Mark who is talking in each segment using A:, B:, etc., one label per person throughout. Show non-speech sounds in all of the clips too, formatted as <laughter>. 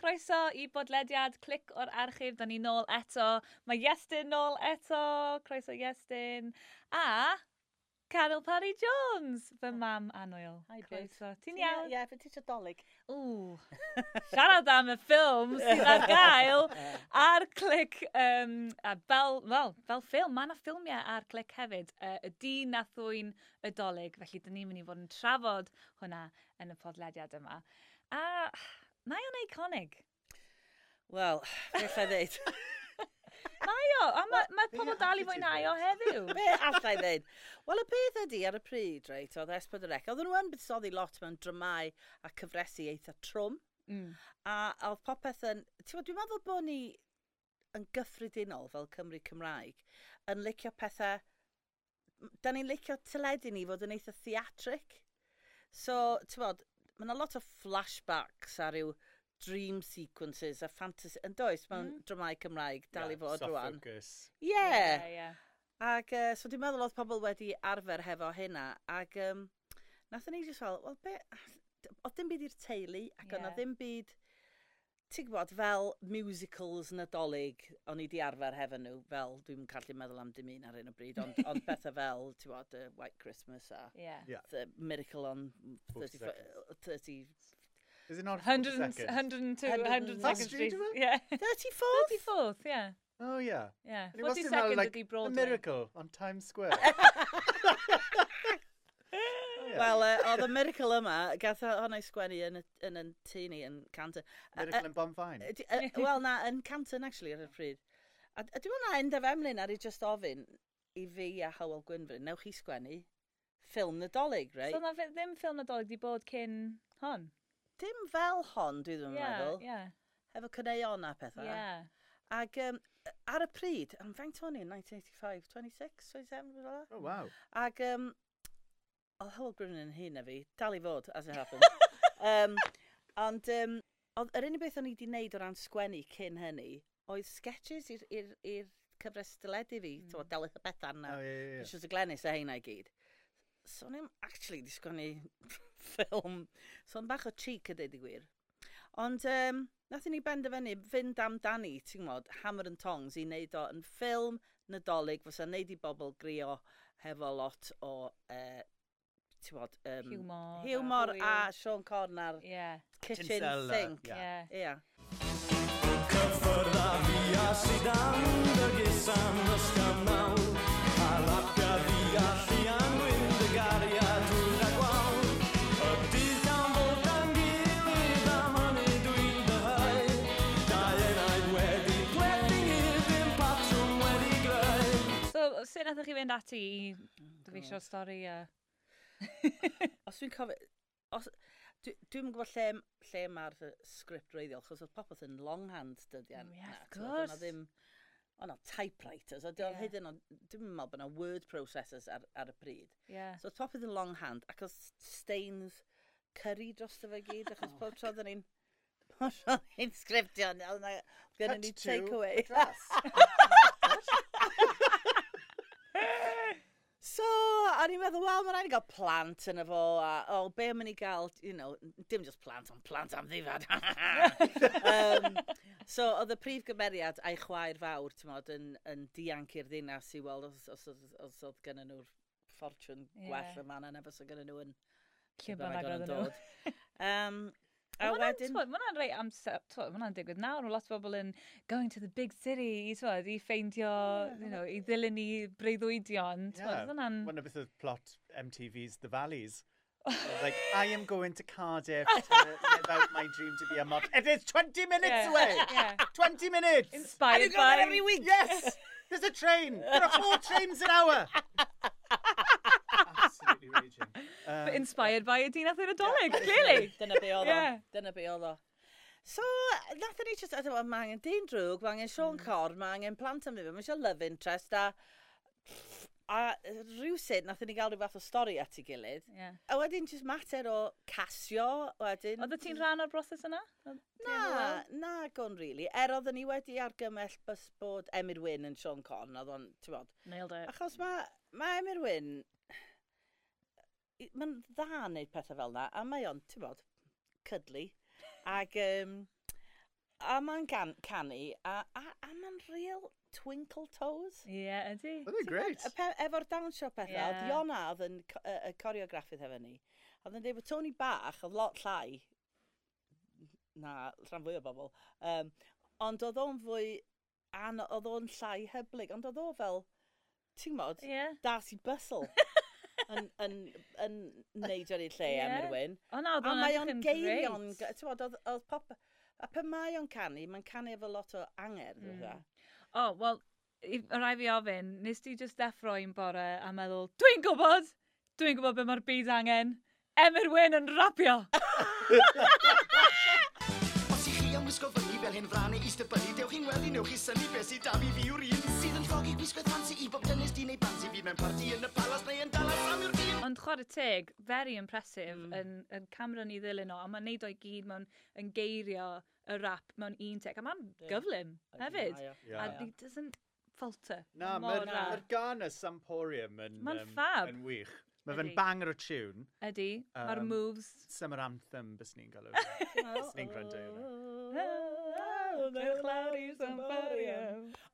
A: croeso i bodlediad Clic o'r Archif. Da ni nôl eto. Mae Iestyn nôl eto. Croeso Iestyn. A Carol Parry Jones, fy mam annwyl.
B: Hi, babe.
A: Croeso. Ti'n iawn?
B: Ie, fe ti eisiau dolyg.
A: Ww. Siarad am y ffilm sydd ar gael ar clic, um, a fel, well, fel ffilm, mae yna ffilmiau ar clic hefyd, uh, y dyn a thwyn y dolyg, felly dyn ni'n mynd i fod yn trafod hwnna yn y podlediad yma. A mae o'n eiconig.
B: Wel, beth allai ddeud?
A: Mae o, a mae ma
C: Ie,
A: pobl
C: a
A: dal i
C: be ti'n
A: fwynhau o heddiw.
B: <laughs> Be allai ddeud? Wel, y beth ydi ar y pryd, reit, oedd Esbydorec, oedden nhw yn buddsoddi lot mewn dramau a cyfresu eitha trwm,
A: Mm.
B: a oedd popeth yn... Ti'n bod, dwi'n meddwl bod ni yn gyffredinol fel Cymru Cymraeg, yn licio pethau... Da ni'n licio teledu ni fod yn eitha theatric. So, ti'n bod, mae yna lot o flashbacks a ryw dream sequences a fantasy... Yn does, mewn
A: Mm.
B: dramau Cymraeg dal i
C: Ie,
B: fod
C: soft
B: rwan.
C: focus.
B: Ie!
A: Ie, ie.
B: Ac uh, so dwi'n meddwl oedd pobl wedi arfer hefo hynna, ac um, nathon ni just fel, wel be, oedd dim byd i'r teulu, ac yeah.
A: Ie.
B: oedd ddim byd, ti'n gwybod, fel musicals nadolig, o'n i di arfer hefo nhw, fel, dwi'n callu meddwl am dim un ar hyn o
A: <laughs>
B: bryd, ond, ond pethau fel, ti'n gwybod, uh, White Christmas a
A: Ie.
C: Ie.
B: The Miracle on
C: 40
B: 30,
C: seconds.
B: 30,
C: Is it not
A: 100
C: 40 seconds?
A: 102, 102
B: That's
A: Street.
C: true,
A: <laughs> Ie.
B: 34?
A: 34th, ie.
C: Oh, yeah.
A: Ie.
C: And it must
A: 40
C: have had,
A: second
C: like,
A: ydi
C: A
A: Broadway.
C: miracle on Times
B: <laughs>
C: Square. Oh, yeah.
B: Wel, uh, oedd y miracle yma, gath hwnna i sgwennu yn y, yn y tŷ ni yn Canton. A- a-
C: Miracle in Bonfine.
B: Ydy-
A: <laughs>
B: yy, Wel na, yn Canton actually ar y pryd. A, a dwi'n meddwl na Enda Femlin ar ei just ofyn i fi a Hywel Gwynfryn, newch chi sgwennu ffilm nadolig, reit?
A: So na fe- ddim ffilm nadolig di bod cyn hon?
B: Dim fel hon, dwi ddim yn meddwl,
A: ie,
B: efo cyneuon a pethau.
A: ie.
B: Ac um, ar y pryd, am faint o'n i yn 1985, 26, 27, rhywbeth fel 'na?
C: Oh, wow.
B: Ac um, oedd Hywel Gwynfryn yn hyn na fi, dal i fod, as it happens. um, ond um, oedd yr unig beth o'n i wedi wneud o ran sgwennu cyn hynny, oedd sketches i'r- i'r i'r cyfres dyledu fi, mm. tywod, Delyth y Bethan na,
C: Oh, yeah, yeah, yeah.
B: Precious y Glenis a heina i gyd. So o'n i'n actually di sgwennu <laughs> ffilm, so o'n bach o cheek a deud i gwir. Ond um, nath ni benderfynu fynd amdani, ti'n gwybod, Hammer and Tongs i wneud o yn ffilm nadolig, fysa wneud i bobl grio hefo lot o, uh, ti'n gwybod, um,
A: Humor.
B: humor a
A: hwyl.
B: Sean Corn ar
A: Ie,
B: kitchen
C: Tinsel a-
B: sink.
C: ie.
B: Ie.
A: ie.
B: Yeah.
D: Cyffwrdd â fi a sydd am dygys am ysgam naw A lapia fi a llian gwyn dy gariad hwyr a gwaw Y dydd am fod am gilydd am hynny dwi'n dyhau Dau enaid wedi plethu i'r ddim patrwm wedi greu
A: So, sut nathoch chi fynd ati i ddyfeisio stori a...
B: Os dwi'n cofio... Os, dwi, dwi'n gwybod lle, lle mae'r yy, sgript reiddiol, chos oedd popeth yn longhand dyddiau.
A: Mm, ie, wrth
B: Oedd
A: gwrs.
B: yna ddim... Oedd yna typewriters, oedd yeah.
A: Ie.
B: hyd yn oed... Dwi'n meddwl bod yna word processors ar, ar y pryd.
A: Ie.
B: So oedd popeth yn longhand, ac oedd stains curry dros fe gyd, achos pob tro oedden ni'n... Pob tro oedden ni'n sgriptio, oedd yna... Gynnu
C: Cut
B: ni
C: to
B: take away. <laughs>
C: Dress.
B: So, a ni'n meddwl, wel, mae'n rhaid i gael plant yn y fo, a, o, oh, be am i gael, you know, dim just plant, ond plant am <laughs> ddifad. um, so, oedd y prif gymeriad a'i chwaer fawr, ti'n modd, yn, yn dianc i'r ddinas i weld os, os, os, os oedd gen nhw'r ffortiwn
A: Ie.
B: gwell yma na nefos oedd gen nhw yn...
A: Lle
B: be
A: bynnag
B: bynnag
A: oedden
B: oedd
A: nhw.
B: yn dod. Um, a wedyn...
A: Mae hwnna'n rei amser, t'mod, ma' hwnna'n digwydd nawr, mae lot o bobl yn going to the big city, i, t'mod, i ffeindio, you know, i ddilyn ni breuddwydion, t'mod,
C: Yeah.
A: oedd hwnna'n...
C: One of the plot MTV's The
B: <laughs>
C: Valleys. It's like, I am going to Cardiff to live out my dream to be a model. It is 20 minutes
A: Yeah,
C: away!
B: <laughs>
A: yeah.
C: 20 minutes!
B: And you
A: Inspired
B: go there
A: by...
B: every week!
C: Yes! There's a train! There are four trains an hour! Absolutely raging. Um,
A: Inspired by y dyn a thwy'n adolyg, clearly.
B: <laughs> Dyna be oedd o.
A: Ie.
B: Dyna be oedd o. So, nath ni just, ydw, mae angen dyn drwg, mae angen Sean Corn, mae angen plant am ddim, mae eisiau love interest, a, a rhywsyd nath ni gael rhyw fath o stori at ei gilydd.
A: Ie.
B: A wedyn just mater o casio, wedyn...
A: Oedd ti'n rhan o'r broses yna? Oedd- ti efo
B: Na,
A: weld?
B: na gon rili. Really. Er oedden ni wedi argymell bys bod Emyr Wyn yn Sean Corn, oedd o'n, ti'n bod,
A: Nailed it.
B: Achos mae ma Emyr Wyn, mae'n dda yn neud pethau fel yna, a mae o'n, ti'n bod, cydlu. Ac um, A mae'n can canu, a, a, a mae'n real twinkle toes.
A: Ie, ydy.
C: Oedd e'n great.
B: Y pe- Efo'r dawnsio pethau, yeah.
A: Ie.
B: Diona oedd yn co- y y coreograffydd hefo ni. A oedd yn dweud bod Tony bach, oedd lot llai, na, rhan fwy o bobl, um, ond oedd o'n fwy, an, oedd o'n llai hyblyg, ond oedd o fel, ti'n modd,
A: Ie.
B: Darcy Bustle yn, yn, yn neud ar ei lle
A: Ie.
B: am Erwin.
A: O na, oedd
B: A
A: o'n
B: mae
A: edrych
B: o'n
A: yn
B: geirion,
A: great.
B: g- ti'n bod, oedd oedd pop... A pe mae o'n canu, mae'n canu efo lot o anger. Mm.
A: O, wel, i- ma' rai fi ofyn, nes ti just ddeffroi'n bore a meddwl, dwi'n gwybod, dwi'n gwybod be mae'r byd angen, Emyr Wyn yn rapio.
E: Os i chi am wisgo fyny fel hyn flanau is-debynnu, dewch i'n weld i newch chi synnu beth sydd da fi fi yw'r un sydd yn llogi gwisgoedd fansi i bob dynes di neu bansi fi mewn parti yn y palas neu yn dalas am yw'r un.
A: Ond chwarae teg, very impressive mm. yn, yn camera ni ddilyn o, a mae'n neud o'i gyd mewn yn geirio y rap mewn un teg, a mae'n gyflym hefyd.
C: Ie.
A: A he doesn't falter.
C: Na,
A: mor
C: mae'r
A: dda.
C: ma gan y Samporium yn,
A: Ma'n
C: yym,
A: fab.
C: yn wych. Mae fe'n
A: Ydi.
C: banger o tune.
A: Ydy, mae'r
C: Yym,
A: moves.
C: Summer Anthem bys ni'n galw. fe.
A: <laughs>
C: Bys ni'n gwrando i hwnna.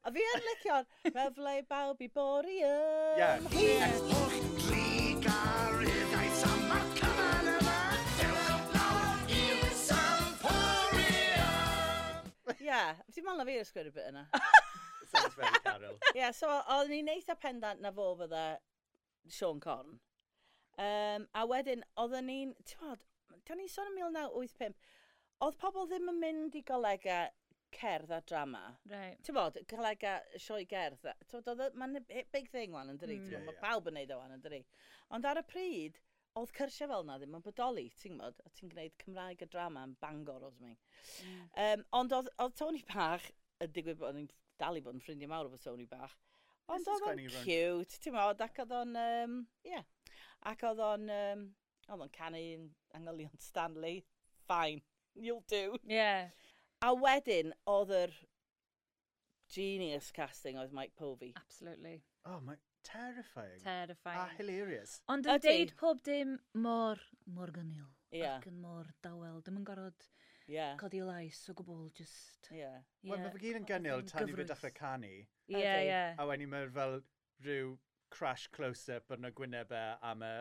B: A fi yn licio'r Refle bawb i borium.
C: Ie.
E: Ewch drig ar hyddaeth am y cyfan yma, dewch y blawd i'r Samporium.
B: Yeah. Ti'n meddwl na fi ysgwyr y bit
E: <laughs>
B: yna?
C: Sounds very Carol.
B: Ie, yeah, so oedd ni'n eitha pendant na fo fydda Sean Corn. Um, a wedyn, oedden ni'n, ti'n bod, da ni'n sôn am 1985, oedd pobl ddim yn mynd i golega cerdd a drama.
A: Right.
B: Ti'n bod, golega sioi gerdd. a- Ti'n bod, mae'n big thing wan yn dyri,
A: Mm.
B: mm. yeah,
C: Ie,
B: mae
C: ie.
B: pawb yn neud o wan yn dyri. Ond ar y pryd, oedd cyrsiau fel na ddim yn bodoli, ti'n bod, a ti'n gwneud Cymraeg a drama yn bangor o something. Um, ond oedd, oedd Tony Bach, y digwydd bod ni'n dal i bod yn ffrindiau mawr efo Tony Bach, ond
C: This is
B: oedd o'n
C: going wrong.
B: cute, ti'n modd, ac oedd o'n, um, yeah, ac oedd o'n, um, oedd o'n canu yn angylion Stanley, fine, you'll do.
A: Yeah.
B: A wedyn, oedd yr genius casting oedd Mike
A: Ah,
B: Povey.
A: Absolutely.
C: Oh, mae terrifying. A
A: Terrifying.
C: hilarious.
A: Ond yn
B: Ydi.
A: deud pob dim mor, mor gynnil.
B: Ie.
A: Ac yn mor dawel. Dim yn gorfod
B: Yeah,
A: codi lais o gwbl, just...
B: yeah.
A: Ie,
C: Wel, mae fe gyd yn
A: popeth
C: gynnil
A: yn
C: tan i fi
A: gyfrwys.
C: dechrau canu.
A: Ie,
B: Ydi.
A: ie.
C: A wedyn mae'r fel rhyw crash close-up yn y gwynebau am y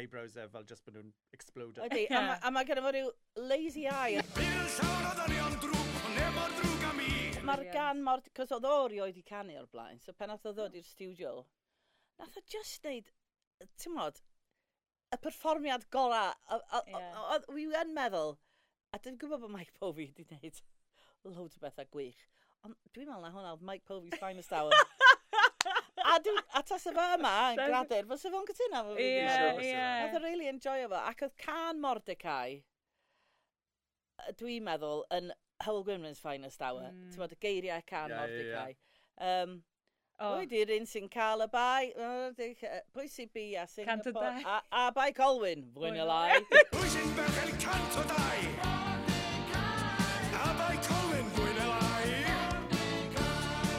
C: eyebrows e fel just bod nhw'n explodio.
B: Ydy, a ma- a mae gen i fo ryw lazy eye.
D: I'r llawr o ddynion drwg, neb o'r drwg am i.
B: Mae'r
A: Brilliant.
B: gan mor... Cos oedd o rioed i canu o'r blaen, so pen oedd o ddod i'r studio, nath o just neud, ti'n modd, y perfformiad gora.
A: Ie.
B: Oedd wi yn meddwl, a dwi'n gwybod bod Mike Povey wedi neud loads o bethau gwych, ond dwi'n meddwl na hwnna oedd Mike Povey's finest hour.
A: <laughs>
B: a dwi'n... A tas efo yma yn
A: That's-
B: gradur, fos efo yn cytuno efo fi, dwi'n
A: Ie,
B: siŵr.
C: Sure,
A: ie.
C: sure.
B: Oedd o'n really enjoyo fo. Ac oedd can Mordecai, yy, dwi'n meddwl, yn Hywel Gwynwyn's finest hour. Mm.
A: Mm.
B: Ti'n bod y geiriau can
C: Ie,
B: yeah,
C: ie, ie.
B: Mordecai. Yeah, Um,
A: O,
B: Pwy di'r un sy'n cael y bai? Yy, di- yy, Pwy sy'n bu a
A: Cant y
B: Singapore?
A: dau.
B: A, a bai Colwyn,
A: Fwy
B: fwy'n y
A: na
B: lai.
D: Pwy sy'n berchen cant o dau? A bai Colin fwy na lai.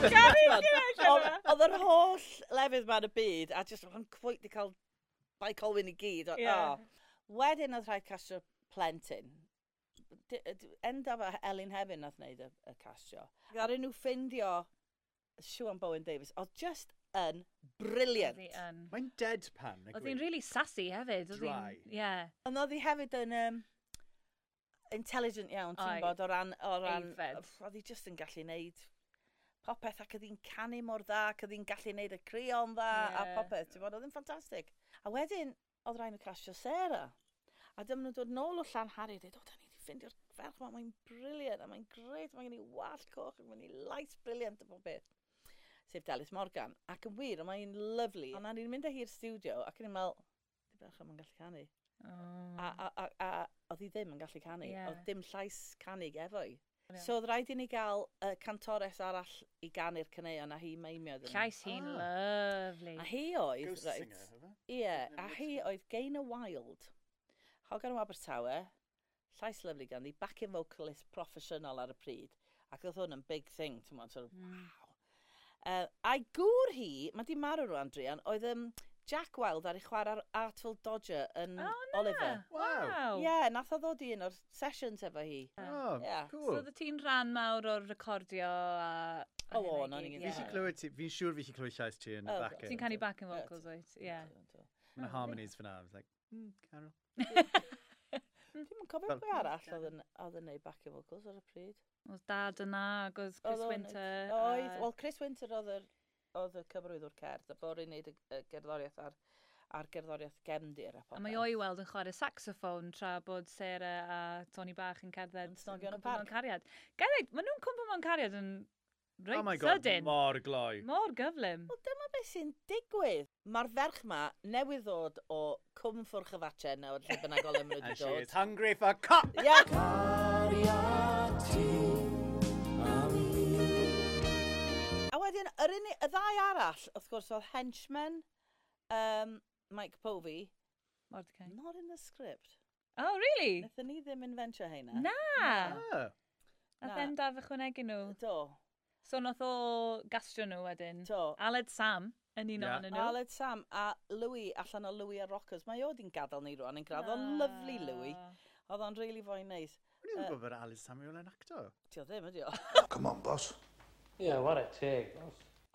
B: Ti'n
A: Ie,
B: gwbod,
A: siŵr.
B: oedd- Oedd yr holl lefydd ma'n y byd, a jyst o'n cwyt di cael bai Colwyn i gyd. O-
A: Ie.
B: o. Wedyn oedd rhaid castio plentyn. D- d- Endaf a Elin Hefyn nath wneud y, y castio. Garen nhw ffindio Siwan Bowen Davies, oedd just yn briliant.
A: Oedd hi yn.
C: Mae'n deadpan. y
A: Oedd hi'n
C: gwir.
A: really sassy hefyd. Oedd hi'n...
C: Dry.
A: Ie.
B: Ond oedd hi hefyd yn um, intelligent iawn, ti'n
A: Oedd.
B: bod, o ran... O ran
A: Aeddfed.
B: pff, oedd hi just yn gallu neud popeth ac oedd hi'n canu mor dda, ac oedd hi'n gallu neud y creon dda
A: Ie.
B: a popeth, ti'n bod, oedd hi'n ffantastig. A wedyn, oedd rhaid nhw casio Sarah. A dyma nhw dod nôl o llan Harry, dweud, o, da ni wedi ffindio'r ferch ma, mae'n briliant, a mae'n gret, mae'n gen i wallt coch, ac mae'n i lais briliant a bob beth. Sef Dalys Morgan, ac yn wir, a mae'n lyflu. A na ni'n mynd â hi'r studio, ac yn i'n meddwl, di bach yma'n gallu canu.
A: O.
B: A, a, a, a oedd hi ddim yn gallu
A: Hmm.
B: canu.
A: Ie.
B: Yeah. Oedd dim llais canu efo hi.
A: Ie.
B: So oedd rhaid i ni gael uh, cantores arall i ganu'r caneuon a hi meimio ddim.
A: Llais hi'n
C: Ah.
A: lovely.
B: A hi oedd,
C: Ghost
B: reit,
C: singer, hefe?
B: ie,
C: Never
B: a
C: heard
B: hi
C: of
B: oedd Gain Wild, Hogan o Abertawe, llais lyflu ganddi, backing vocalist proffesiynol ar y pryd, ac oedd hwn yn big thing,
A: Hmm.
B: ti'n mwyn, sort of, wow. Uh, a'i gŵr hi, mae di marw rwan, Drian, oedd um, Jack Wild ar ei chwarae'r Artful Dodger yn
A: O, na.
B: Oliver.
A: Wow.
B: Ie, yeah, nath o ddod i un o'r sessions efo hi.
C: Oh,
B: Yeah.
A: So
C: cool.
A: oedd ti'n rhan mawr o'r recordio a... a
B: O,
A: hynna
B: o'n
A: i gyd,
B: i'n gneud.
C: Fi si clywed ti, fi'n siŵr fi si clywed llais ti yn y
B: Oh,
C: back
A: Ti'n
C: end.
A: canu backing
B: Ie,
A: vocals, oed? Ie.
C: Mae yna harmonies fyna. I was like, mm, Carol.
B: Dwi'n yn cofio
C: Fel-
B: pwy arall oedd yn- oedd yn neud backing vocals ar y pryd.
A: Oedd dad yna, ac oedd Chris
B: Oedd o'n-
A: Winter.
B: Oedd,
A: a-
B: wel Chris Winter oedd yr oedd y cyfrwydd o'r cerdd, a bod i'n neud y, y gerddoriaeth ar, ar gerddoriaeth gefndir a popeth.
A: A mae o i weld yn chwarae saxophone tra bod Sarah a Tony Bach yn cerdded...
B: Yn snogio yn y
A: cwmpo mewn
B: parc.
A: cariad. Gerrig, maen nhw'n cwmpa mewn cariad yn reit
C: Oh my god,
A: sydyn.
C: mor gloi.
A: Mor gyflym.
B: Wel, dyma beth sy'n digwydd. Mae'r ferch ma newydd ddod o cwm ffwrch y fatche na o'r lle bynnag olem nhw
C: And
B: wedi
C: she is
B: dod.
C: hungry for cop.
B: Ie, a wedyn, yr unig, y ddau arall, wrth gwrs, oedd Henchman, um, Mike Povey,
A: Mordecai.
B: not in the script.
A: Oh, really?
B: Nethon ni ddim inventio heina.
A: Na!
C: Oh,
A: Nath
B: Na.
A: endaf ychwanegu nhw.
B: Do,
A: So nath o gastio nhw wedyn.
B: do.
A: Aled Sam yn un
C: Ie.
A: o'n nhw.
B: Aled Sam a Louis allan o Louis a Rockers. Mae o di'n gadael ni rwan yn gradd. Oedd o'n lyflu Louis. Oedd o'n really fwy neis.
C: O'n i'n gwybod bod Alice Samuel yn actor.
B: Ti o ddim
E: <laughs>
B: ydi o.
E: Oh, Come on, boss.
F: Yeah, what a take.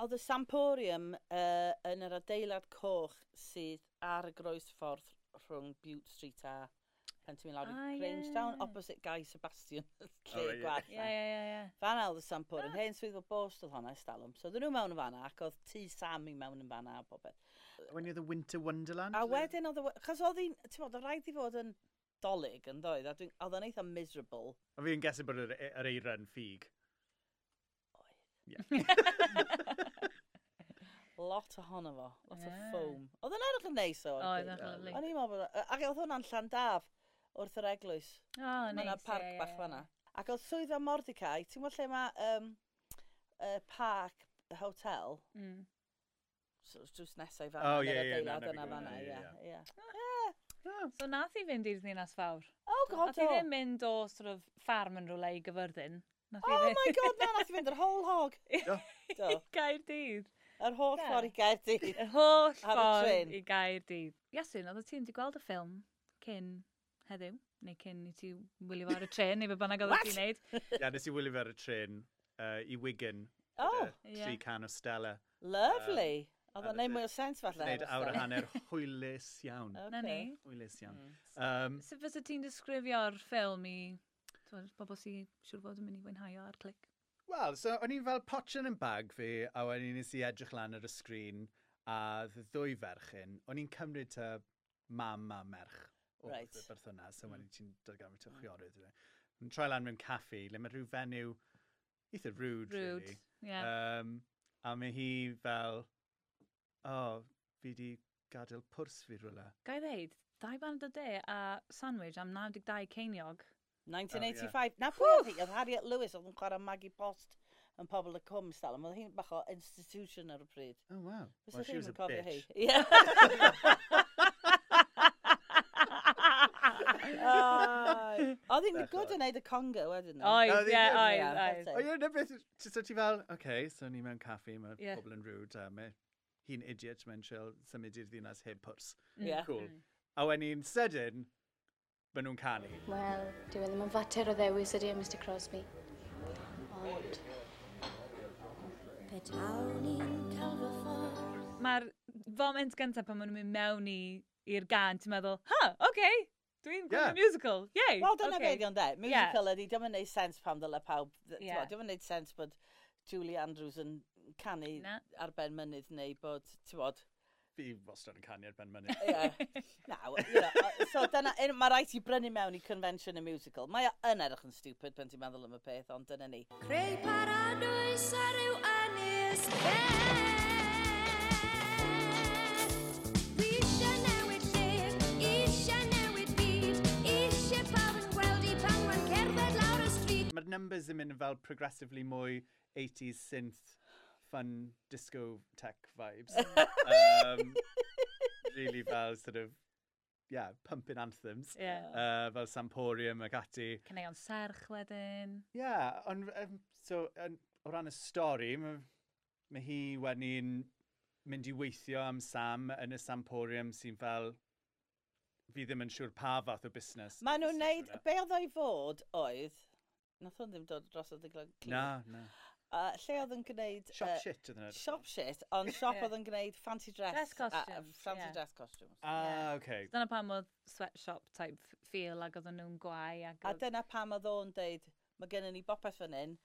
B: Oedd y Samporium uh, yn yr adeilad coch sydd ar y groes ffordd rhwng Butte Street a Pentymi lawr i
A: Ah, ie.
B: Grangetown, opposite Guy Sebastian,
F: Oh,
B: lle
C: O, ie.
B: gwell.
A: Ie, ie, ie, ie.
B: Fan oedd y Samporium, hen swydd o bost oedd honna, Stalwm. So oedden nhw mewn yn fanna, ac oedd tŷ Sam i mewn yn fanna a popeth.
C: When you're the Winter Wonderland.
B: A wedyn oedd, chos oedd hi'n, ti'n bod, oedd rhaid i fod yn dolyg yn ddoedd, a dwi'n- oedd o'n eitha miserable.
C: A fi'n guessing bod yr e- yr eiran ffug.
B: Lot ohono fo, lot
A: Ie.
B: o foam. <laughs> Oedd yn edrych yn neis o.
A: Oedd yn lyflu.
B: O'n i'n meddwl bod... o- Ac oedd hwnna'n Llandaf wrth yr eglwys.
A: O, neis.
B: Mae yna parc
A: ie, ie,
B: bach
A: ie.
B: fanna. Ac oedd swyddfa Mordecai, ti'n gwybod lle mae um, uh, parc, y hotel,
A: Mm.
B: so, drws nesau fanna,
C: O,
B: yn yr
C: Oh, ie, ie, na,
B: adeilad
C: na, fi
B: yna
C: gwybod,
B: fanna,
C: ie,
B: ie,
C: ie,
B: ie.
C: Ah.
A: So nath i fynd i'r ddinas fawr.
B: Oh god,
A: Nath i
B: o!
A: ddim mynd o sort of farm yn rhywle i gyfyrddin. Nath i
B: Oh
A: fynd
B: my god, na, nath i fynd yr whole
C: <laughs>
B: hog.
C: Do.
B: Do,
A: i Gaerdydd.
B: yr holl
A: Ie.
B: ffordd i Gaerdydd.
A: Yr holl
B: Ar y
A: ffordd
B: trên.
A: i Gaerdydd. Iasyn, oedd y ti'n di gweld y ffilm cyn heddiw? Neu cyn i ti wylio fo ar y tren, neu be bynnag oedd ti'n neud?
C: Ia, nes i wylio fe ar y tren uh, i Wigan.
B: Oh,
C: Tri
A: Ie.
C: can o Stella.
B: lovely. Oedd
C: ar y
B: o'n neud
C: bit.
B: mwy o sens falle.
C: Gwneud
B: ar y
C: awr a
B: stafell.
C: hanner hwylus iawn.
B: Ocê.
A: Na ni.
C: Hwylus iawn. Um,
A: Sut fysa ti'n disgrifio'r ffilm i t'mod, bobl sy'n siŵr fod yn mynd i fwynhau o ar clic?
C: Wel, so o'n i'n fel potsian yn bag fi, a wedyn i nes i edrych lan ar y sgrin, a dd- ddwy ferchyn, o'n i'n cymryd ta mam a merch o
B: Reit.
C: right. berthynas,
B: Hmm.
C: so wedyn ti'n dod gan fi chwiorydd. Mm. Yn troi lan mewn caffi, le mae rhyw fenyw eitha rude,
A: Rude.
C: really.
A: Ie.
C: Um, a mae hi fel, o, oh, fi di gadael pwrs fi rhywle.
A: Gai ddeud, dau band o de a sandwich am 92
B: <laughs>
A: ceiniog.
C: Oh,
B: 1985. Na pwy oedd hi? Oedd Harriet Lewis oedd yn chwarae Maggie Post yn pobl y cwm stal. Oedd hi'n bach o institution ar y pryd.
C: Oh, wow.
B: Fysa
C: Well, she
B: chi'm
C: was a
B: yn cofio hi.
C: bitch. <laughs>
B: <laughs> Ie. Ai. Oedd hi'n good yn neud y conga wedyn. nhw.
A: Oes,
C: Oh, they
A: ie,
C: did,
A: oes,
B: yeah,
A: oes.
B: that's
C: O ie, na beth, ti- so ti fel, oce, okay, so ni mewn caffi, mae
A: Ie.
C: yeah. pobl yn rude, a mae hi'n idiot, mae'n siel symud i'r ddinas heb pwrs.
B: Ie.
C: Cool. A when hi'n sydyn, maen nhw'n canu.
G: Wel, dyw e ddim yn fater o ddewis ydy e, Mr Crosby. Ond,
A: Mae'r foment gyntaf pan maen nhw'n mynd mewn i i'r gan, ti'n meddwl, ha, oce, okay, dwi'n gwneud
C: Ie.
A: musical, yei.
B: Wel, dyna
A: okay.
B: okay. beth o'n de. Musical ydi, diolch yn neud sens pam ddyle pawb.
A: Ie.
B: Yeah. Diolch yn neud sens bod Julie Andrews yn canu
A: Na.
B: ar ben mynydd neu bod, ti'n bod,
C: Fi wastad yn canu ar ben mynydd.
A: <laughs>
B: Ie. Na, wel, you know, uh, so dyna, un- mae rhaid i brynu mewn i convention y musical. Mae o yn edrych yn stupid pan ti'n meddwl am y peth, ond dyna ni.
H: Creu paradwys ar yw ynys ben. Dwi isio newid lle, isio newid byd, isio pawb yn gweld i pan ma'n cerdded lawr y stryd.
C: Mae'r numbers yn mynd yn fel progressively mwy 80s synth fun disco tech vibes. um, really fel sort of, yeah, pumping anthems.
A: Ie.
C: Uh, fel Samporium ac ati.
A: Cyneuon serch wedyn.
C: Ie, yeah, ond um, so, um, o ran y stori, mae ma hi wedyn mynd i weithio am Sam yn y Samporium sy'n fel, fi ddim yn siŵr pa fath o busnes.
B: Maen nhw'n
C: busnes
B: neud,
C: yw e. hwnna.
B: be oedd o'i fod oedd, nath o'n ddim dod dros o ddiglan
C: Na, na.
B: Uh, lle oedd yn gwneud...
C: Shop
B: yy,
C: shit ydyn nhw.
B: Shop shit, ond shop oedd yn gwneud fancy dress.
A: Dress
B: a- a
A: costumes,
B: fancy
A: ie.
B: dress costumes.
C: Ah, okay.
A: Dyna pam oedd sweatshop type f- feel ac oedden nhw'n gwau ac
B: A
A: oedd-
B: dyna pam oedd o'n deud, mae gennym ni bopeth fan hyn,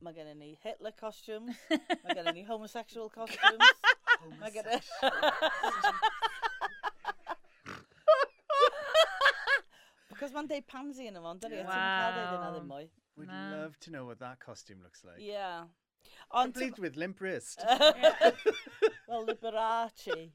B: mae gennym ni Hitler costumes, mae
A: <laughs>
B: gennym ni homosexual costumes, mae gennym... <laughs> Because mae'n deud pansy yn y fond, dyna, ti'n cael deud yna
A: Wow.
B: ddim mwy.
C: We'd
A: Na.
C: love to know what that costume looks like.
B: Yeah. Ond, ti'n-
C: Complete with limp wrist.
A: <laughs>
B: well, Liberace.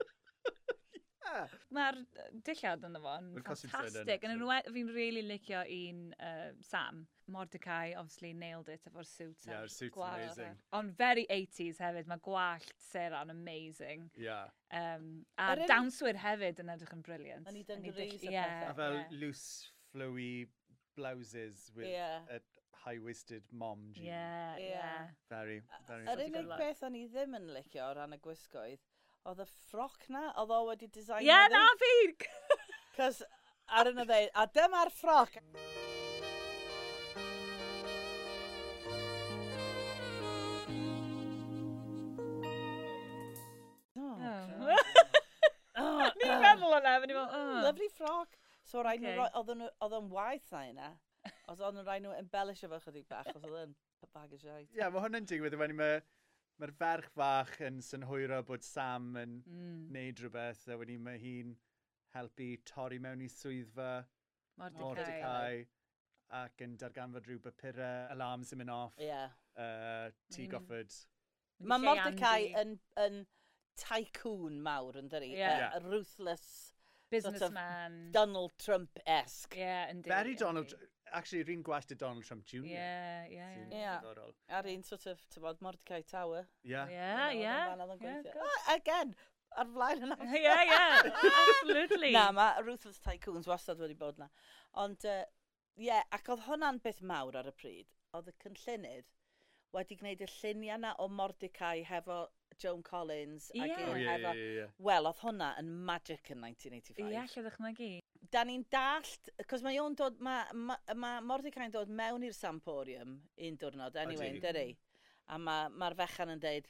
A: Mae'r yy, dillad yn fo yn
C: Ma'r costumes yn
A: ffantastig. Yn
C: excellent.
A: enwe- Fi'n really licio un uh, Sam. Mordecai, obviously, nailed it efo'r suit.
C: Yeah,
A: a'r
C: her suit's
A: gwallt.
C: amazing.
A: Ond e. very 80s hefyd. Mae gwallt Sarah'n amazing.
C: Yeah.
A: Um, a
B: Yr unig-
A: dawnswyr hefyd yn edrych yn briliant.
B: Yn eu
A: Yn eu
B: dungarees
A: dill-
B: a
A: ie,
C: A
B: pethau.
C: fel
A: ie.
C: loose, flowy blouses with
B: Yeah.
C: a high-waisted mom jean.
A: Ie,
B: Ie.
A: ie.
C: Very, very.
B: Yr
A: Sounds like a
B: unig
A: lot.
B: beth o'n i ddim yn licio o ran y gwisgoedd, oedd y ffroc na, oedd o wedi design
A: Ie, na fi!
B: Cos ar yna ddeud, a dyma'r ffroc. Oh,
A: Oh.
B: oh,
A: <laughs> Ni'n
B: oh,
A: meddwl o'na, fe ni'n meddwl,
B: Lovely ffroc. So rhaid nhw
A: Okay.
B: roi- oedd nhw, oedd o'n waith na yna. Os oedd nhw'n rhaid nhw embellish efo chydig bach, os oedd yn bag o siaid.
C: Ie, mae hwnna'n digwydd when mae'r ma ferch fach yn synhwyro bod Sam yn neud rhywbeth a wedi mae hi'n helpu torri mewn i swyddfa
A: Mordecai.
C: Mordecai ac yn darganfod rhyw bapurau, alarms yn mynd off,
B: Ie.
C: uh,
A: Mae'n
C: tea
A: mynd-
C: gofford.
B: Mae
A: Lle
B: Mordecai
A: Andy.
B: yn, yn tycoon mawr yn dyri.
A: Ie.
B: A, a ruthless,
A: Businessman.
B: Donald Trump-esque.
A: Ie, yndi.
C: Very Donald,
A: yndi.
C: actually, rhywun gwasd y Donald Trump Jr.
A: Ie, ie,
C: sy'n
A: ie.
B: Ie.
C: ddiddorol.
B: Ar un sort of, ti'n bod, Mordecai Tower.
C: Ie.
A: Ie,
B: You know,
A: ie.
B: oedd yn fan oedd yn
A: Ie,
B: gweithio.
A: go- <laughs>
B: Oh, Again, ar flaen yna.
A: Ie, ie,
B: <laughs>
A: absolutely.
B: Na, mae Ruthless Tycoons wastad wedi bod na. Ond, yy, ie, uh, yeah, ac oedd hwnna'n beth mawr ar y pryd. Oedd y cynllunydd wedi gwneud y lluniau na o Mordecai hefo Joan Collins
A: Ie.
B: ac
C: O, Oh,
B: un
C: ie,
B: hefo...
C: ie, ie, ie.
B: Wel, oedd hwnna yn magic yn
A: Ie,
B: 1985.
A: lle ddechnegu.
B: Da ni'n dallt, cos mae o'n dod, mae ma, ma Mordecai'n dod mewn i'r Samporium un diwrnod, anyway,
C: Ydi.
B: yn dyri. A mae'r ma ma'r fechan yn deud,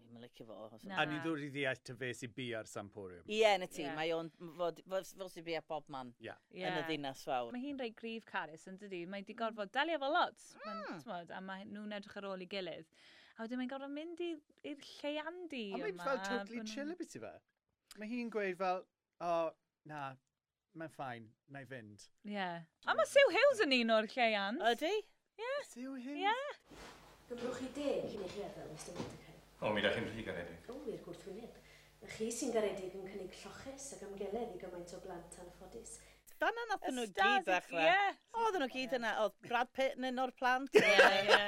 B: ni'n mylicio fo. os yn-
A: Na.
C: A ni ddod i ddeall ta fe sy'n bu ar Samporium.
B: Ie, yn y tŷ,
A: Ie.
B: mae o'n, fod- fod- fel sy'n bia bob man
C: Ie.
A: Ie.
B: yn y ddinas fawr.
A: Mae hi'n rei grif carys yn dydi. Mae
C: Mm.
A: di gorfod delio efo lot. Mm. Mod, a mae nhw'n edrych ar ôl i gilydd. A wedyn mae'n gorfod mynd i- i'r lleiandi
C: A mae'n
A: yma,
C: fel totally
A: bo' nhw'n-
C: chill beth i fe. Mae hi'n gweud fel, o, oh, na, mae'n ffain, na i
A: <laughs>
C: fynd.
A: Ie. A mae Sue Hughes yn un o'r lleiand.
B: Ydy?
C: Siw hyn?
A: Ie.
I: Gymrwch chi de cyn eich feddwl, Mr Mordecai.
J: O, mi ddech chi'n rhy garedig.
I: O, i'r gwrthwyneb. A chi sy'n garedig yn cynnig lloches ac amgeledd i gymaint o blant anffodus.
B: Fanna nath nhw
A: Stars-
B: gyd ddechrau.
A: Ie.
B: Oedden nhw gyd yna, oedd Brad Pitt yn un o'r plant,
C: <laughs>
A: Ie, ie.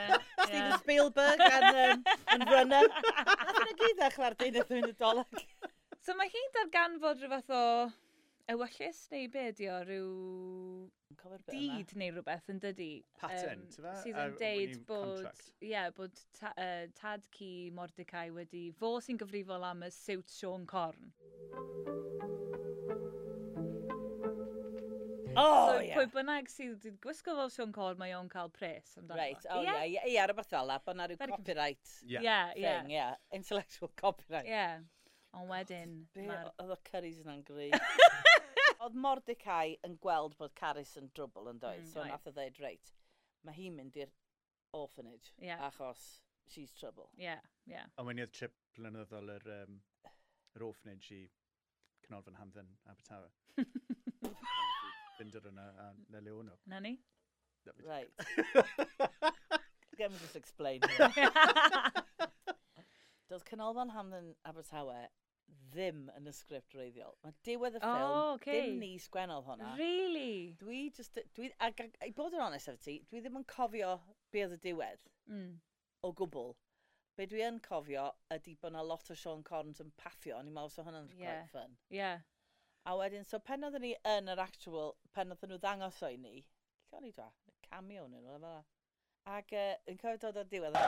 B: Steven Spielberg yn, um, yn runner. Oedden nhw gyd ddechrau'r deunydd yn y doleg.
A: <laughs> So mae hi'n darganfod rhyw fath o ewyllus neu be di o rhyw dyd neu rhywbeth yn dydi.
C: Pattern,
A: Yym,
C: ti'n fe?
A: Sydd
C: A
A: yn
C: w- wnawn
A: deud
C: ni
A: bod,
C: contract.
A: ie, bod ta, uh, tad ci Mordecai wedi fo sy'n gyfrifol am y siwt Sean Corn.
B: O,
A: so,
B: ie.
A: pwy bynnag sydd wedi gwisgo fel Sean Corn, mae o'n cael pres amdano. fo.
B: Reit, o ie, ie, ie, ar y beth fel la, bod na ryw
A: Very conf-
B: copyright
C: Ie.
A: Ie, ie.
B: thing, ie, intellectual copyright.
A: Ie. Ond wedyn,
B: Be
A: mae'r...
B: oedd y curries yna'n
A: <laughs>
B: greu. Oedd Mordecai yn gweld bod Caris yn drwbl yn dweud,
A: Mm,
B: so
A: right.
B: nath o ddeud, reit, mae hi'n mynd i'r orphanage,
A: Ie.
B: achos she's trouble.
A: Ie, ie.
C: A wedi oedd trip blynyddol yr, um, yr orphanage i Canolfan Hamdden, Abertawe.
A: <laughs>
C: Fynd ar hwnna a na le o'n nhw.
A: Na
B: <laughs>
A: ni?
B: Right.
A: <laughs>
B: Let me just explain. here. Doedd Canolfan Hamden Abertawe ddim yn y sgript reiddiol. Mae diwedd y
A: O,
B: ffilm,
A: oce.
B: dim ni sgwennodd hwnna.
A: Really?
B: Dwi just, dwi, ag, ag, i bod yn onest efo ti, dwi ddim yn cofio be oedd y diwedd
A: Mm.
B: o gwbl. Be dwi yn cofio ydy bod yna lot o Sean Corns yn paffio, ond i'n meddwl so hwnna'n
A: Ie.
B: quite fun.
A: Ie.
B: A wedyn, so pen oedden ni yn yr actual, pen oedden nhw ddangos o'i ni, lle o'n i dwa? Cameo neu rhywbeth fel 'na. Ac uh, yn cofio dod ar diwedd. e-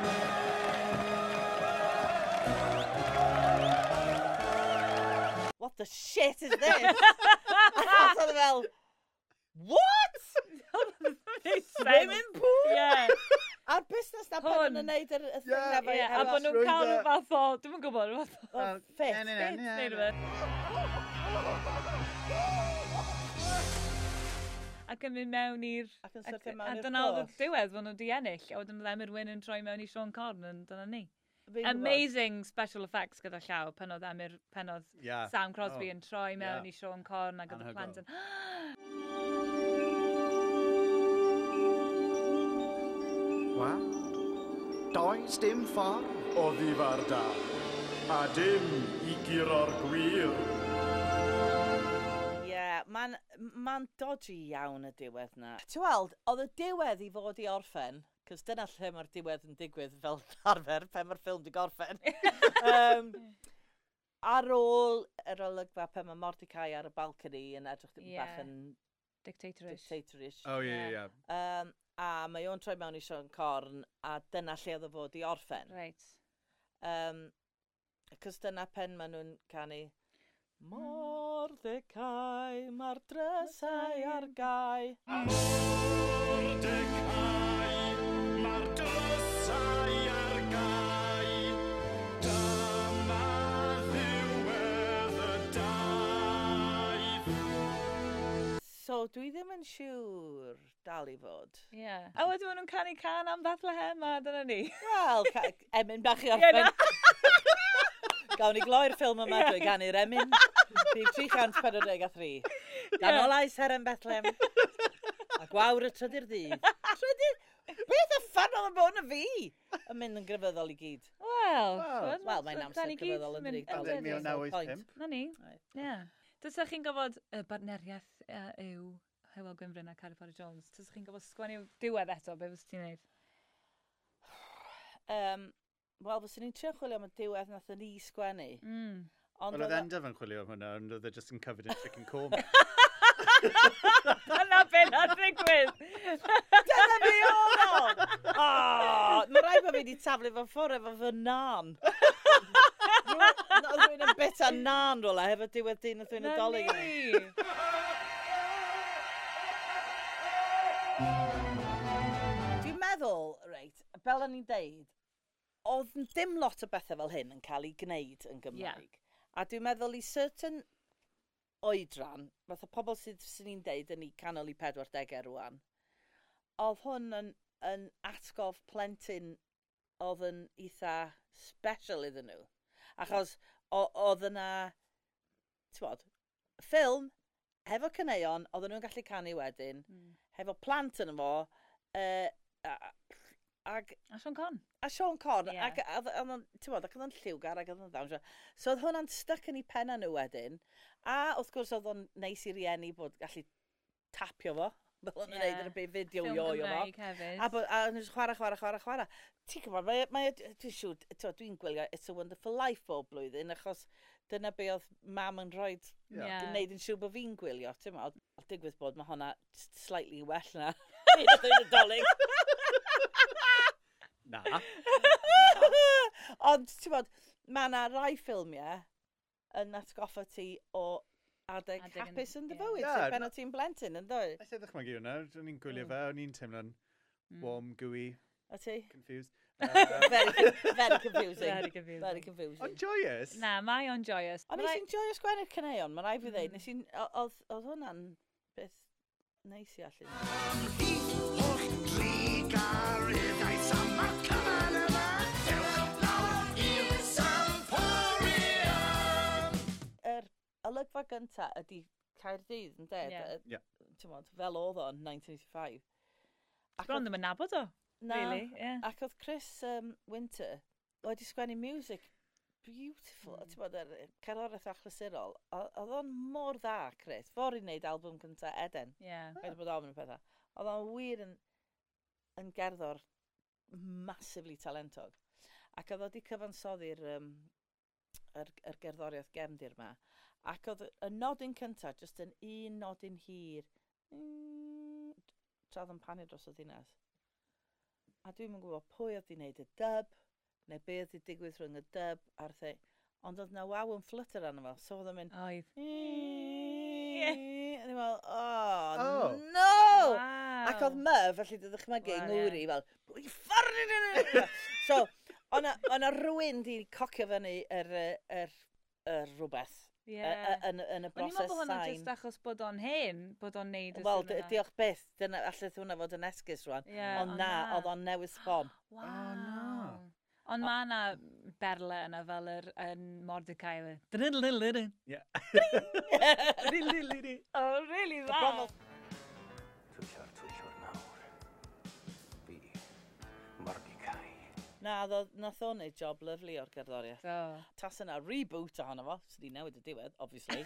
B: A What the shit is this? <laughs> a oedd e fel, what? Swimming pool?
A: Yeah,
B: A'r busnes na pan
A: Hwn.
B: yn wneud yr y thing
C: Yeah,
B: na fe.
A: yeah. A
C: That's
A: bod nhw'n
C: right
A: cael
C: there.
A: rhyw fath o... Dwi'n yn gwybod, rhyw fath o...
B: Oh,
C: Wel,
B: fit,
C: na, na, na,
A: bit
C: na,
A: neu
C: na.
A: rhywbeth. Ac yn mynd mewn i'r...
B: Ac yn
A: ac-
B: syrthio
A: A
B: mewn i'r
A: dyna oedd y
B: pwll.
A: diwedd fan nhw'n di ennill, a wedyn byddai Myrwyn yn troi mewn i Sean Corn yn dyna ni.
B: Fi'n gwbod.
A: Amazing special effects gyda llaw pan oedd Emyr, pan oedd
C: Yeah.
A: Sam Crosby
C: Oh,
A: yn troi mewn
C: yeah.
A: i Sean Corn ac oedd y
C: Anhygoel.
A: plant yn... "Oh,
E: Wa? Does dim ffordd o ddifar da, a dim i guro'r gwir.
B: Ie, yeah, mae'n ma dodgy iawn y diwedd na. Ti'n weld, oedd y diwedd i fod i orffen, cos dyna lle mae'r diwedd yn digwydd fel <laughs> arfer, pen mae'r ffilm di gorffen.
A: <laughs>
B: um, ar ôl yr olygfa pen mae Mordecai ar y balcony yn edrych yn yeah.
A: Ie.
B: bach yn
A: Dictatorish.
B: dictatorish.
C: Oh, yeah, yeah.
A: Yeah.
C: yeah.
B: Um, a mae o'n troi mewn i Sean Corn, a dyna lle oedd o fod i orffen.
A: Right.
B: Um, Cos dyna pen maen nhw'n canu. Mordecai, mae'r drysau ar gau.
E: Mordecai, mae'r drysau ar gau. Dyma ddiwedd y daith.
B: So, dwi ddim yn siŵr dal i fod.
A: Yeah. A wedyn maen nhw'n canu can am Bethlehem a dyna
B: <laughs>
A: ni.
B: Wel, ca- emyn bach i
A: Ie,
B: orffen.
A: na.
B: <laughs> Gawn ni gloi'r ffilm yma drwy ganu'r emyn. Rhyw 343. Dan
A: Ie.
B: olais heren Bethlehem. A gwawr y trydydd ddydd. <laughs> Trydydd? Beth y ffan oedd yn bod yn fi? Yn mynd yn grefyddol i gyd.
A: Wel,
C: Wel,
A: t'mod,
B: wel, mae'n
A: da
B: amser
A: ni gyd
B: cyfryddol yn
A: mynd-
B: dydi? Dal-
A: dydi?
C: 1905.
A: Na ni, ie.
B: Right.
A: Yeah. Tysach chi'n gofod y barneriaeth yy, yw Hywel Gwynfryn a Carrie Potter Jones, tysach chi'n gofod sgwennu diwedd eto, be fes ti'n
B: <laughs>
A: neud?
B: Um, Wel, fyswn i'n trio chwilio am y diwedd nath ni sgwennu.
A: Mm.
B: Ond e-
C: Wel, oedd
B: o-
C: endaf yn chwilio am hwnna, ond oedd e just yn covered in chicken korma.
A: Dyna beth na'n ddigwydd!
B: Dyna fi oedd o! O, Mae rhaid bod fi wedi taflu fo ffwrdd efo fy
A: <laughs>
B: nan. Oedd rwy'n yn bit a nan rola hefo diwedd dyn oedd rwy'n
A: Na
B: adolyg yn ei.
A: ni!
B: Dwi'n meddwl, reit, fel o'n i'n deud, oedd n- dim lot o bethau fel hyn yn cael ei gwneud yn Gymraeg. A dwi'n meddwl i certain oedran, fath o pobl sydd sy'n ni'n deud yn ei canol i 40au rwan, oedd hwn yn, yn atgof plentyn oedd yn eitha special iddyn nhw. Achos o- oedd yna, ti'n bod, ffilm hefo cyneuon, oedden nhw'n gallu canu wedyn,
A: Mm.
B: hefo plant yn fo, uh, ag,
A: A Sean Con.
B: a Sean Corn,
A: Ie.
B: ac oedd oedd o'n, ti'n bod, ac oedd o'n lliwgar ac oedd o'n ddawnsio. So oedd hwnna'n styc yn ei penna nhw wedyn, a wrth gwrs oedd o'n neis i rieni bod gallu tapio fo, fel o'n
A: Ie.
B: yeah. neud yn y byd fideo
A: Ffilm
B: i o'i o fo.
A: Gymraeg hefyd.
B: A bod, a o'n i'n chwarae, chwarae, chwarae, chwarae. Ti'n gwybod, mae, e, mae, dwi'n siŵr, t'mo', dwi'n gwylio It's a Wonderful Life bob blwyddyn, achos dyna be oedd mam yn rhoi
C: Ie.
A: Ie.
B: yn neud yn siŵr bod fi'n gwylio, ti'n ma, a digwydd bod mae honna s- slightly well
A: <laughs>
B: na. Nid oedd yn adolyg.
C: Na.
B: Ond, ti'n bod, mae yna rai ffilmiau yn atgoffa ti o adeg,
A: Adeg yn-
B: hapus yn dy
A: ie.
B: bywyd,
C: Ie,
B: yeah, pen o ti'n blentyn, yn dwy.
C: Felly ddechmygu hwnna, o'n i'n gwylio
B: Mm.
C: fe, o'n i'n teimlo'n warm, gooey,
B: O ti?
C: confused. Um,
B: Very, con-
A: <laughs>
B: very confusing.
A: Very confusing.
B: Very confusing.
C: Ond joyous.
A: Na, mae o'n joyous.
B: Ond
A: Mae-
B: nes i'n joio sgwennu'r cyneuon, mae'n rhaid fi ddeud.
A: Mm.
B: Nes i'n... o- Oedd oedd hwnna'n beth neis i allu.
E: I holl dri garyddau Sam a'r cyfan yma, ewch lawr i'r Samporium.
B: Yr olygfa gynta ydy Caerdydd, yn ded?
A: Ie.
B: Yy,
C: Ie.
B: Ti'n modd, fel oedd o'n 1985. Ac
A: Bron
B: oedd-
A: ddim yn nabod o,
B: na,
A: really. ie.
B: Ac oedd Chris um, Winter wedi sgwennu music beautiful, mm. ti'n bod, yr cerddoriaeth achlysurol. O- Oedd o'n mor dda, Chris. Fo'r i wneud album cynta Eden.
A: Ie.
B: Rhaid i bod ofn y pethau. Oedd o'n wir yn, yn gerddor massively talentog. Ac oedd o wedi cyfansoddi'r um, yr, yr gerddoriaeth gefndir yma. Ac oedd y nodyn cyntaf, jyst yn un nodyn hir. Mm, tra oedd yn panu dros y ddinas. A dwi'm yn gwybod pwy oedd i wneud y dub, neu be oedd i digwydd rhwng y dub a'r thing. Ond oedd na waw yn flutter arno fo, so oedd yn mynd...
A: Oedd.
B: Yeah. A ni'n meddwl, oh,
C: Oh.
B: no! Ac
A: Waw.
B: oedd my, felly dy ddychmygu,
A: Wel,
B: yng
A: ie.
B: Ngwri, fel, i ffordd yn yna! So, o'na o'na rhywun di cocio fyny yr, yy, yr, yr rhywbeth
A: Ie.
B: yy, yy, yn, yn
A: O'n
B: y
A: i'n meddwl
B: broses
A: bod hwnna
B: sain.
A: jyst achos bod o'n hyn, bod o'n neud y
B: Wel,
A: sŵn
B: di-
A: yna.
B: diolch byth, dyna allai hwnna fod yn esgus rwan.
A: Ie,
B: Ond na, oedd o'n newydd sbon.
A: Waw.
C: na.
A: Ond mae yna berle yna fel yr yn Mordecai. yw e. Drydydydydy.
C: Yeah.
A: Drydydydydy. O, really dda.
B: Bron o-
D: Twyllo'r twyllwr nawr. Fi, Mordecai.
B: Na, ddo- nath o'n neud job lyflu o'r gerddoriaeth.
A: Do.
B: Tas yna reboot ohono fo, sydd wedi newid y diwedd,
A: <laughs>
B: obviously.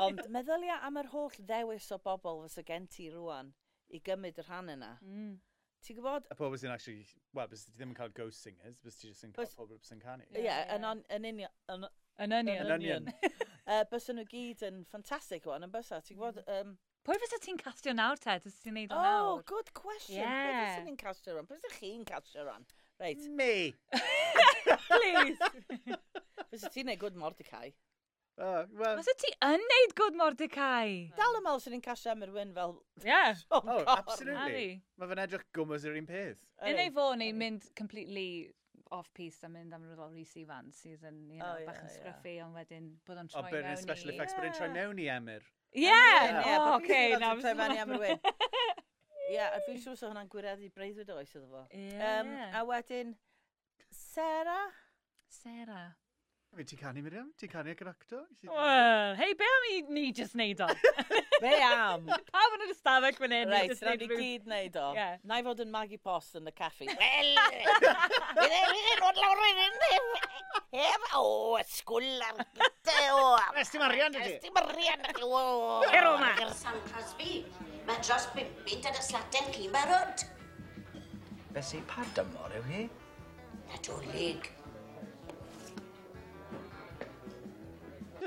B: Ond meddylia am yr holl ddewis o bobl fysa gen ti rwan i gymryd yr rhan yna.
A: Mm.
B: Ti'n gwybod,
C: A pobl sy'n actually, wel, bys ti ddim yn cael ghost singers, bys ti jyst yn cael
B: Bys-
C: pobl sy'n canu.
A: Ie,
B: ie, yeah,
A: ie.
B: yn union... Yn,
A: Yn
B: yn
A: union.
C: Yn
B: union.
C: union.
B: uh, Bysyn nhw gyd yn ffantastig o'n yn bysa. Ti'n gwybod... Um,
A: Pwy fysa ti'n castio nawr te? Dys ti'n neud o
B: oh,
A: nawr?
B: good question.
A: Ie.
B: Yeah. Beth ni'n castio rwan? Beth chi'n castio rwan? Reit,
C: Me!
A: Please. Mm.
B: bys ti'n neud good Mordecai.
C: Oh, well,
A: Fysa ti yn neud good Mordecai?
B: Dal yn meddwl sy'n ni'n castio am yr wyn fel...
A: Yeah.
B: Oh,
C: oh, absolutely.
A: Harry.
C: Mae fe'n edrych gwmwys yr un peth.
A: Yn ei fo neu mynd completely off-piste a mynd am rhywbeth o Rhys Ifan sydd yn, you know,
B: O, ie,
A: bach yn
B: ie.
A: sgryffu ond wedyn bod
C: O,
A: o'n troi
C: but
A: mewn
C: yn
A: i...
C: special effects, but yn troi
B: Ie.
C: mewn i Emyr.
A: Ie!
B: Ie,
A: O,
B: bo' fi
A: oce. na,
B: siŵr bod ti'n
A: fysa
B: troi mewn i
A: hwnna-
B: am yr wyn. <laughs> Ie, a fi'n siŵr sa hwnna'n gwireddu breuddwyd oes iddo fo. Yym,
A: Ie.
B: a wedyn, Sarah?
A: Sarah.
C: Fi ti canu, Miriam? Ti canu ac yn acto? Ti-
A: Wel, hei, be am i ni jyst neud o?
B: <laughs> Be am?
A: <laughs> Pam yn yr ystafell fan hyn?
B: <laughs> Reit,
A: jyst
B: rhaid
A: neud
B: ni
A: rhyw-
B: gyd wneud o.
A: Ie.
B: Na i fod yn magu post yn y caffi. <laughs>
A: Pero ma!
I: Ar Santras fi, mae dros 50 yn y slaten cyn barod.
D: Felly, pa dymor yw hi?
I: Nadolig.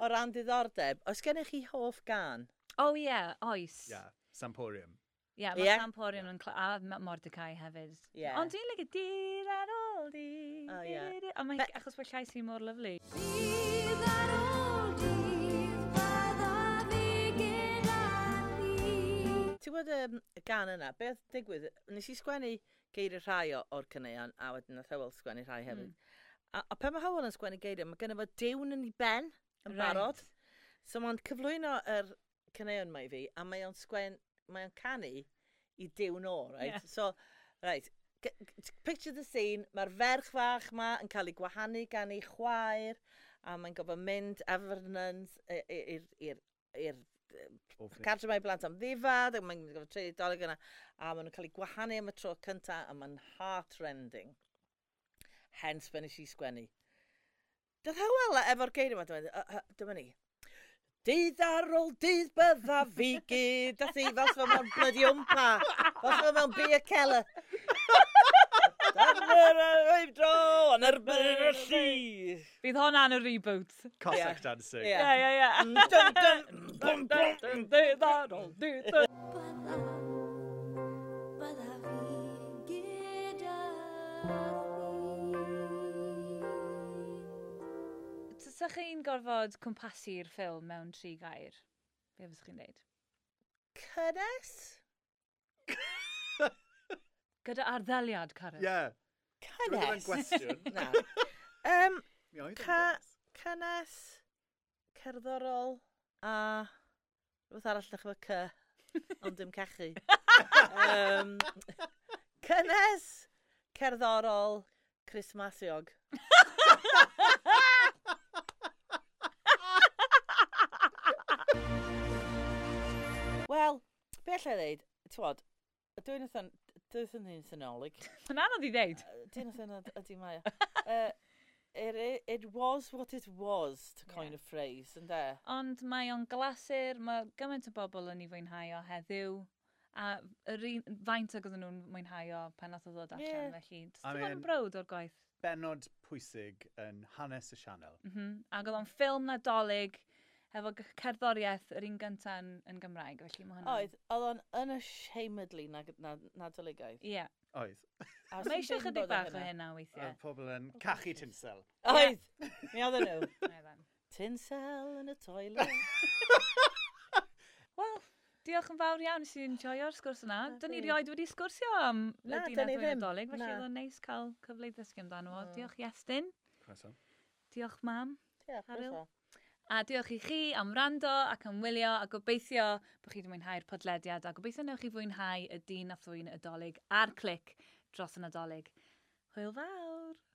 B: O ran diddordeb, oes gennych chi hoff gan?
A: O ie, oes.
C: Ie, Samporium.
A: Ie,
B: Ie.
A: mae Samporion yn... cla- A ma- Mordecai hefyd.
B: Ie.
A: Ond dwi'n lygu dir ar ôl di.
B: O, ie.
A: dir- A mae
B: Be-
A: achos bod llais hi mor lyflu.
B: Ti'n gwybod um, y gan yna, beth digwydd? Nes i sgwennu geiriau rhai o- o'r cyneuon, a wedyn nath Hywel sgwennu rhai
A: Hmm.
B: hefyd. A, a pe mae Hywel yn sgwennu geiriau, mae gynnu fo diwn yn ei ben yn
A: Reit.
B: barod. So mae'n cyflwyno yr cyneuon mae i fi, a mae o'n sgwen, mae o'n canu i diwn o, right?
A: Ie.
B: So, right, g- g- picture the scene, mae'r ferch fach ma yn cael ei gwahanu gan ei chwaer, a mae'n gofod mynd efo'r nuns i- i- i'r i'r cartre mae blant am ddifad, a mae'n gofod treulio dolyg yna, a maen nhw'n cael eu gwahanu am y tro cyntaf, a mae'n heart-rending. Hence, fe nes i sgwennu. Dydd hawel efo'r geiriau yma, dyma ni, yy, yy, dyma ni. Dydd ar ôl dydd bydda fi gyd, a thi fel sfa mewn bloody wmpa, fel sfa mewn beer cellar. Dyna'r o'i dro, yn erbyn y llu.
A: Bydd hwnna'n y reboot.
C: Cossack dancing.
B: Ie.
A: Ie, ie, ie.
B: Dun, dun, bum, bum.
A: Diddorol, diddorol. Tysa chi'n gorfod cwmpasu'r ffilm mewn tri gair? Be fysach chi'n neud?
B: Cynnes?
A: Gyda arddeliad, Carol.
C: Ie. Dwi'n gwybod yn
B: Cynnes?
C: gwestiwn.
B: <laughs> Na. Um,
C: Mi oedd yn
B: Ca-
C: gwestiwn.
B: cynnes, cerddorol a rhywbeth arall ddech efo cy, ond dim cachu. um, cynnes, cerddorol, Christmasiog. Wel, be allai ddeud, tywod, dwi'n eitha, dwi'n eitha synolig.
A: Yn anodd i ddeud.
B: Dyn oedd yna, ydy mae. Uh, it, it, it was what it was, to kind
A: Ie.
B: of phrase, yn de?
A: Ond mae o'n glasur, mae gymaint o bobl yn ei fwynhau o heddiw. A yr un, faint ag oedden nhw'n mwynhau o pan oedd o ddod allan,
B: Ie.
A: yeah.
C: I
A: felly. Dwi'n bod
C: mean-
A: yn browd o'r gwaith.
C: Benod pwysig yn hanes y sianel.
A: Mm -hmm. Ac oedd o'n ffilm nadolig hefo g- cerddoriaeth yr un gyntaf yn, yn Gymraeg, felly mae hwnna'n...
B: Oedd, oedd o'n unashamedly na, na, nadoligaidd.
A: Ie.
C: Oedd.
B: A
A: Mae
B: sdim
A: eisiau
B: byd
A: chydig
B: bod ar
A: bach o hynna weithiau.
C: Oedd pobl yn cachu tinsel.
B: Oedd, mi oedd nhw.
A: Mae fe'n.
B: Tinsel yn y toilet.
A: Wel, diolch yn fawr iawn sy'n enjoio'r sgwrs yna. Dyn ni rioed wedi sgwrsio am y
B: Na, dyn
A: Dinath
B: ni
A: Wyn
B: ddim.
A: Nadolig, felly
B: Na.
A: oedd o'n neis cael cyfle i ddysgu amdano fo. Diolch Iestyn, diolch mam,
B: Ie,
A: Ariel?
B: croeso.
A: a diolch i chi am rando ac am wylio a gobeithio bod chi wedi mwynhau'r podlediad a gobeithio newch chi fwynhau y Dinath Wyn Nadolig a'r clic dros y Nadolig. Hwyl fawr!